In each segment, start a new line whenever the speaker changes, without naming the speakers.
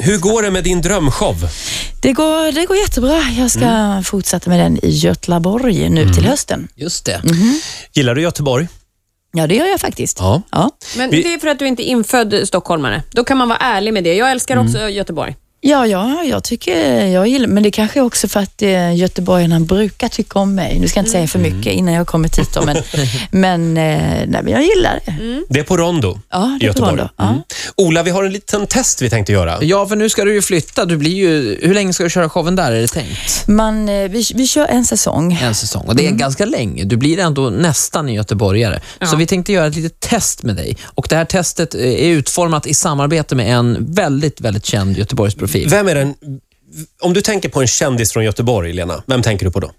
Hur går det med din drömshow?
Det går, det går jättebra. Jag ska fortsätta med den i Göteborg nu till hösten.
Just det. Gillar du Göteborg?
Ja, det gör jag faktiskt.
Mhm. Ja.
Ja,
Men
Vi-
det är för att du inte är infödd stockholmare. Då kan man vara ärlig med det. Jag älskar
Mm.
också Göteborg.
ja, ja jag tycker jag gillar, men det kanske är också för att eh, göteborgarna brukar tycka om mig. Nu ska jag inte säga för mycket innan jag kommer hit då, men, men, eh, nej, men jag gillar det.
Det är på Rondo
Ja,
i
det är på
Mm. Göteborg.
Rondo. Ja.
Ola, vi har en liten test vi tänkte göra.
Ja, för nu ska du ju flytta. Du blir ju, hur länge ska du köra showen där, är det tänkt?
Man, eh, vi, vi kör en säsong.
En säsong. Och det är
Mm.
ganska länge. Du blir ändå nästan en göteborgare. Så vi tänkte göra ett litet test med dig. Och Det här testet eh, är utformat i samarbete med en väldigt, väldigt känd Göteborgsprofil.
Vem är den... Om du tänker på en kändis från Göteborg, Lena, vem tänker du på då?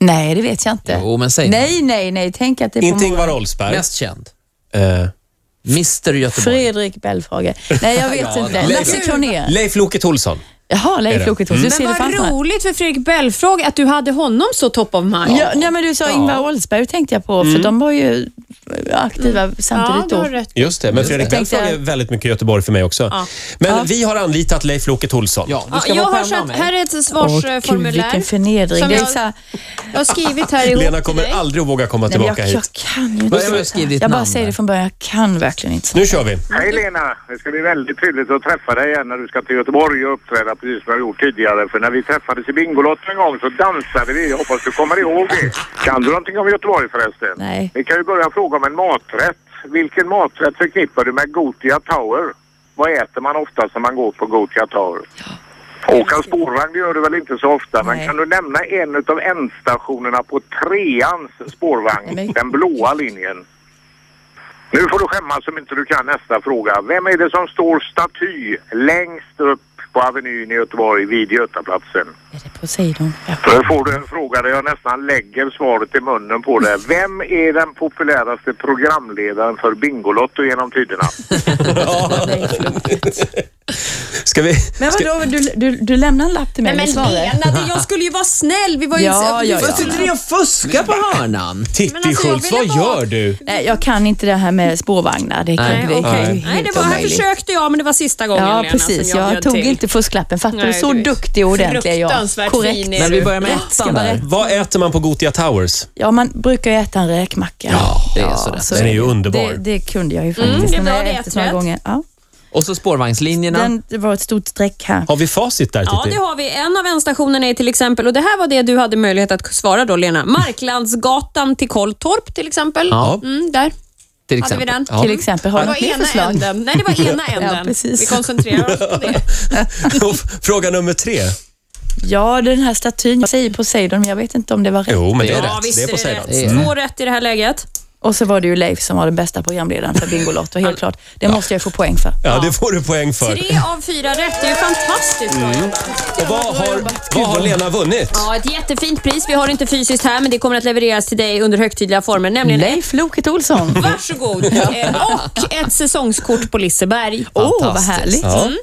Nej, det vet jag inte.
Jo, men säg
nej, nej, nej. Tänk att det är
Inte
på
Ingvar
morgonen.
Oldsberg.
Mest känd.
Eh,
Mr Göteborg.
Fredrik Belfrage. Nej, jag vet
Ja,
inte.
då.
Lasse Kronér.
Leif Loket Olsson.
Jaha,
Är det?
Leif Loket. Du ser det
Mm. Men
framför
vad
mig.
roligt för Fredrik Belfrage att du hade honom så top of mind.
Ja, nej, men du sa Ingvar Oldsberg tänkte jag på,
Mm.
för de var ju aktiva
Mm. ja
samtidigt
du
då.
har rätt.
Just det, men Fredrik
det.
Belfrage är
Tänkte-
väldigt mycket Göteborg för mig också. Men vi har anlitat Leif Loket Olsson.
Ja, du
Ja,
ska
jag
vara på
har
hemma
satt,
med.
här är ett
Åh, Gud,
svarsformulär.
vilken förnedring.
eh, som
Det är
jag,
så här,
jag har skrivit här ihop
Lena
till
kommer
dig.
aldrig att våga komma
nej, men
tillbaka
jag, jag
hit.
kan ju
Börja med att
inte.
skriva ditt
Jag bara
namn
säger
där.
det från början, jag kan verkligen inte.
Nu kör vi.
Hej Lena! Det ska bli väldigt trevligt att träffa dig igen när du ska till Göteborg och uppträda precis som vi har gjort tidigare. För när vi träffades i Bingolotto en gång så dansade vi. Jag hoppas du kommer ihåg det. Kan du någonting om Göteborg förresten?
Nej.
Vi kan ju börja fråga om en maträtt. Vilken maträtt förknippar du med Gotia Tower? Vad äter man oftast när man går på Gotia Tower? Åka spårvagn gör du väl inte så ofta, men
Nej.
kan du nämna en utav ändstationerna på treans spårvagn,
Nej, men-
den blåa linjen? Nu får du skämmas om inte du kan nästa fråga. Vem är det som står staty längst upp på Avenyn i Göteborg vid Götaplatsen?
Är det Poseidon? Ja.
Nu får du en fråga där jag nästan lägger svaret i munnen på dig. Vem är den populäraste programledaren för Bingolotto genom tiderna?
Ska vi...
Men alltså, vadå, du, du, du lämnar en lapp till mig
Nej, men
med svaret?
Lena, det- jag skulle ju vara snäll. Vi var ju
Ja,
du
ja,
får
ja.
inte
Sitter ni och fuskar på hörnan?
Titti
Men alltså, jag
Schultz, vad
ville bara-
gör du?
Nej, Eh, jag kan inte det här med spårvagnar. Det, kan,
Nej,
det,
okej.
är ju
Nej, det
helt
var, här
omöjligt.
försökte jag, men det var sista gången
Ja,
Lena,
precis.
som jag,
Jag,
bjöd
tog
till.
inte fusklappen. Fattar du?
Nej,
Så
du är
duktig och ordentlig är jag.
fruktansvärt
Korrekt.
fin är
Men vi
du.
börjar med
Rätt ska
ettan
vara
där.
rätt.
Vad äter man på Gotia Towers?
Ja, man brukar ju äta en räkmacka. Ja,
det är så rätt.
Den är ju
det.
underbar.
Det, det kunde jag ju faktiskt.
det
Den
är
har
bra,
jag
det är
ätit några
rätt.
gånger. Ja.
Och så spårvagnslinjerna.
Den, det var ett stort streck här.
Har vi facit där,
Ja,
Titti?
det har vi. En av ändstationerna är till exempel, och det här var det du hade möjlighet att svara då Lena,
Mm.
Marklandsgatan till Kolltorp till exempel.
Ja.
Mm, där.
till
hade vi
exempel.
den.
Ja.
Till exempel, har
Det
du
var
något mer
ena
förslag?
änden. Nej, det var ena änden.
precis.
Vi koncentrerar oss på det.
Och f- Fråga nummer tre.
Ja, den här statyn. Jag säger Poseidon, men jag vet inte om det var rätt.
Jo, men det är
Ja,
rätt.
visst
Det är
är
på Mm.
det
sidan.
rätt. Två rätt i det här läget.
Och så var det ju Leif som var den bästa programledaren för Bingolotto, helt klart. Det måste jag få poäng för.
Ja, det får du poäng för.
Tre av fyra rätt. Det är ju fantastiskt bra
Mm.
jobbat.
Och vad har, vad har Lena vunnit?
Ja, ett jättefint pris. Vi har det inte fysiskt här, men det kommer att levereras till dig under högtidliga former. Nämligen
Leif Loket Olsson.
Varsågod! Eh, Och ett säsongskort på Liseberg.
Åh, vad
Fantastiskt.
härligt.
Mm.
Ja.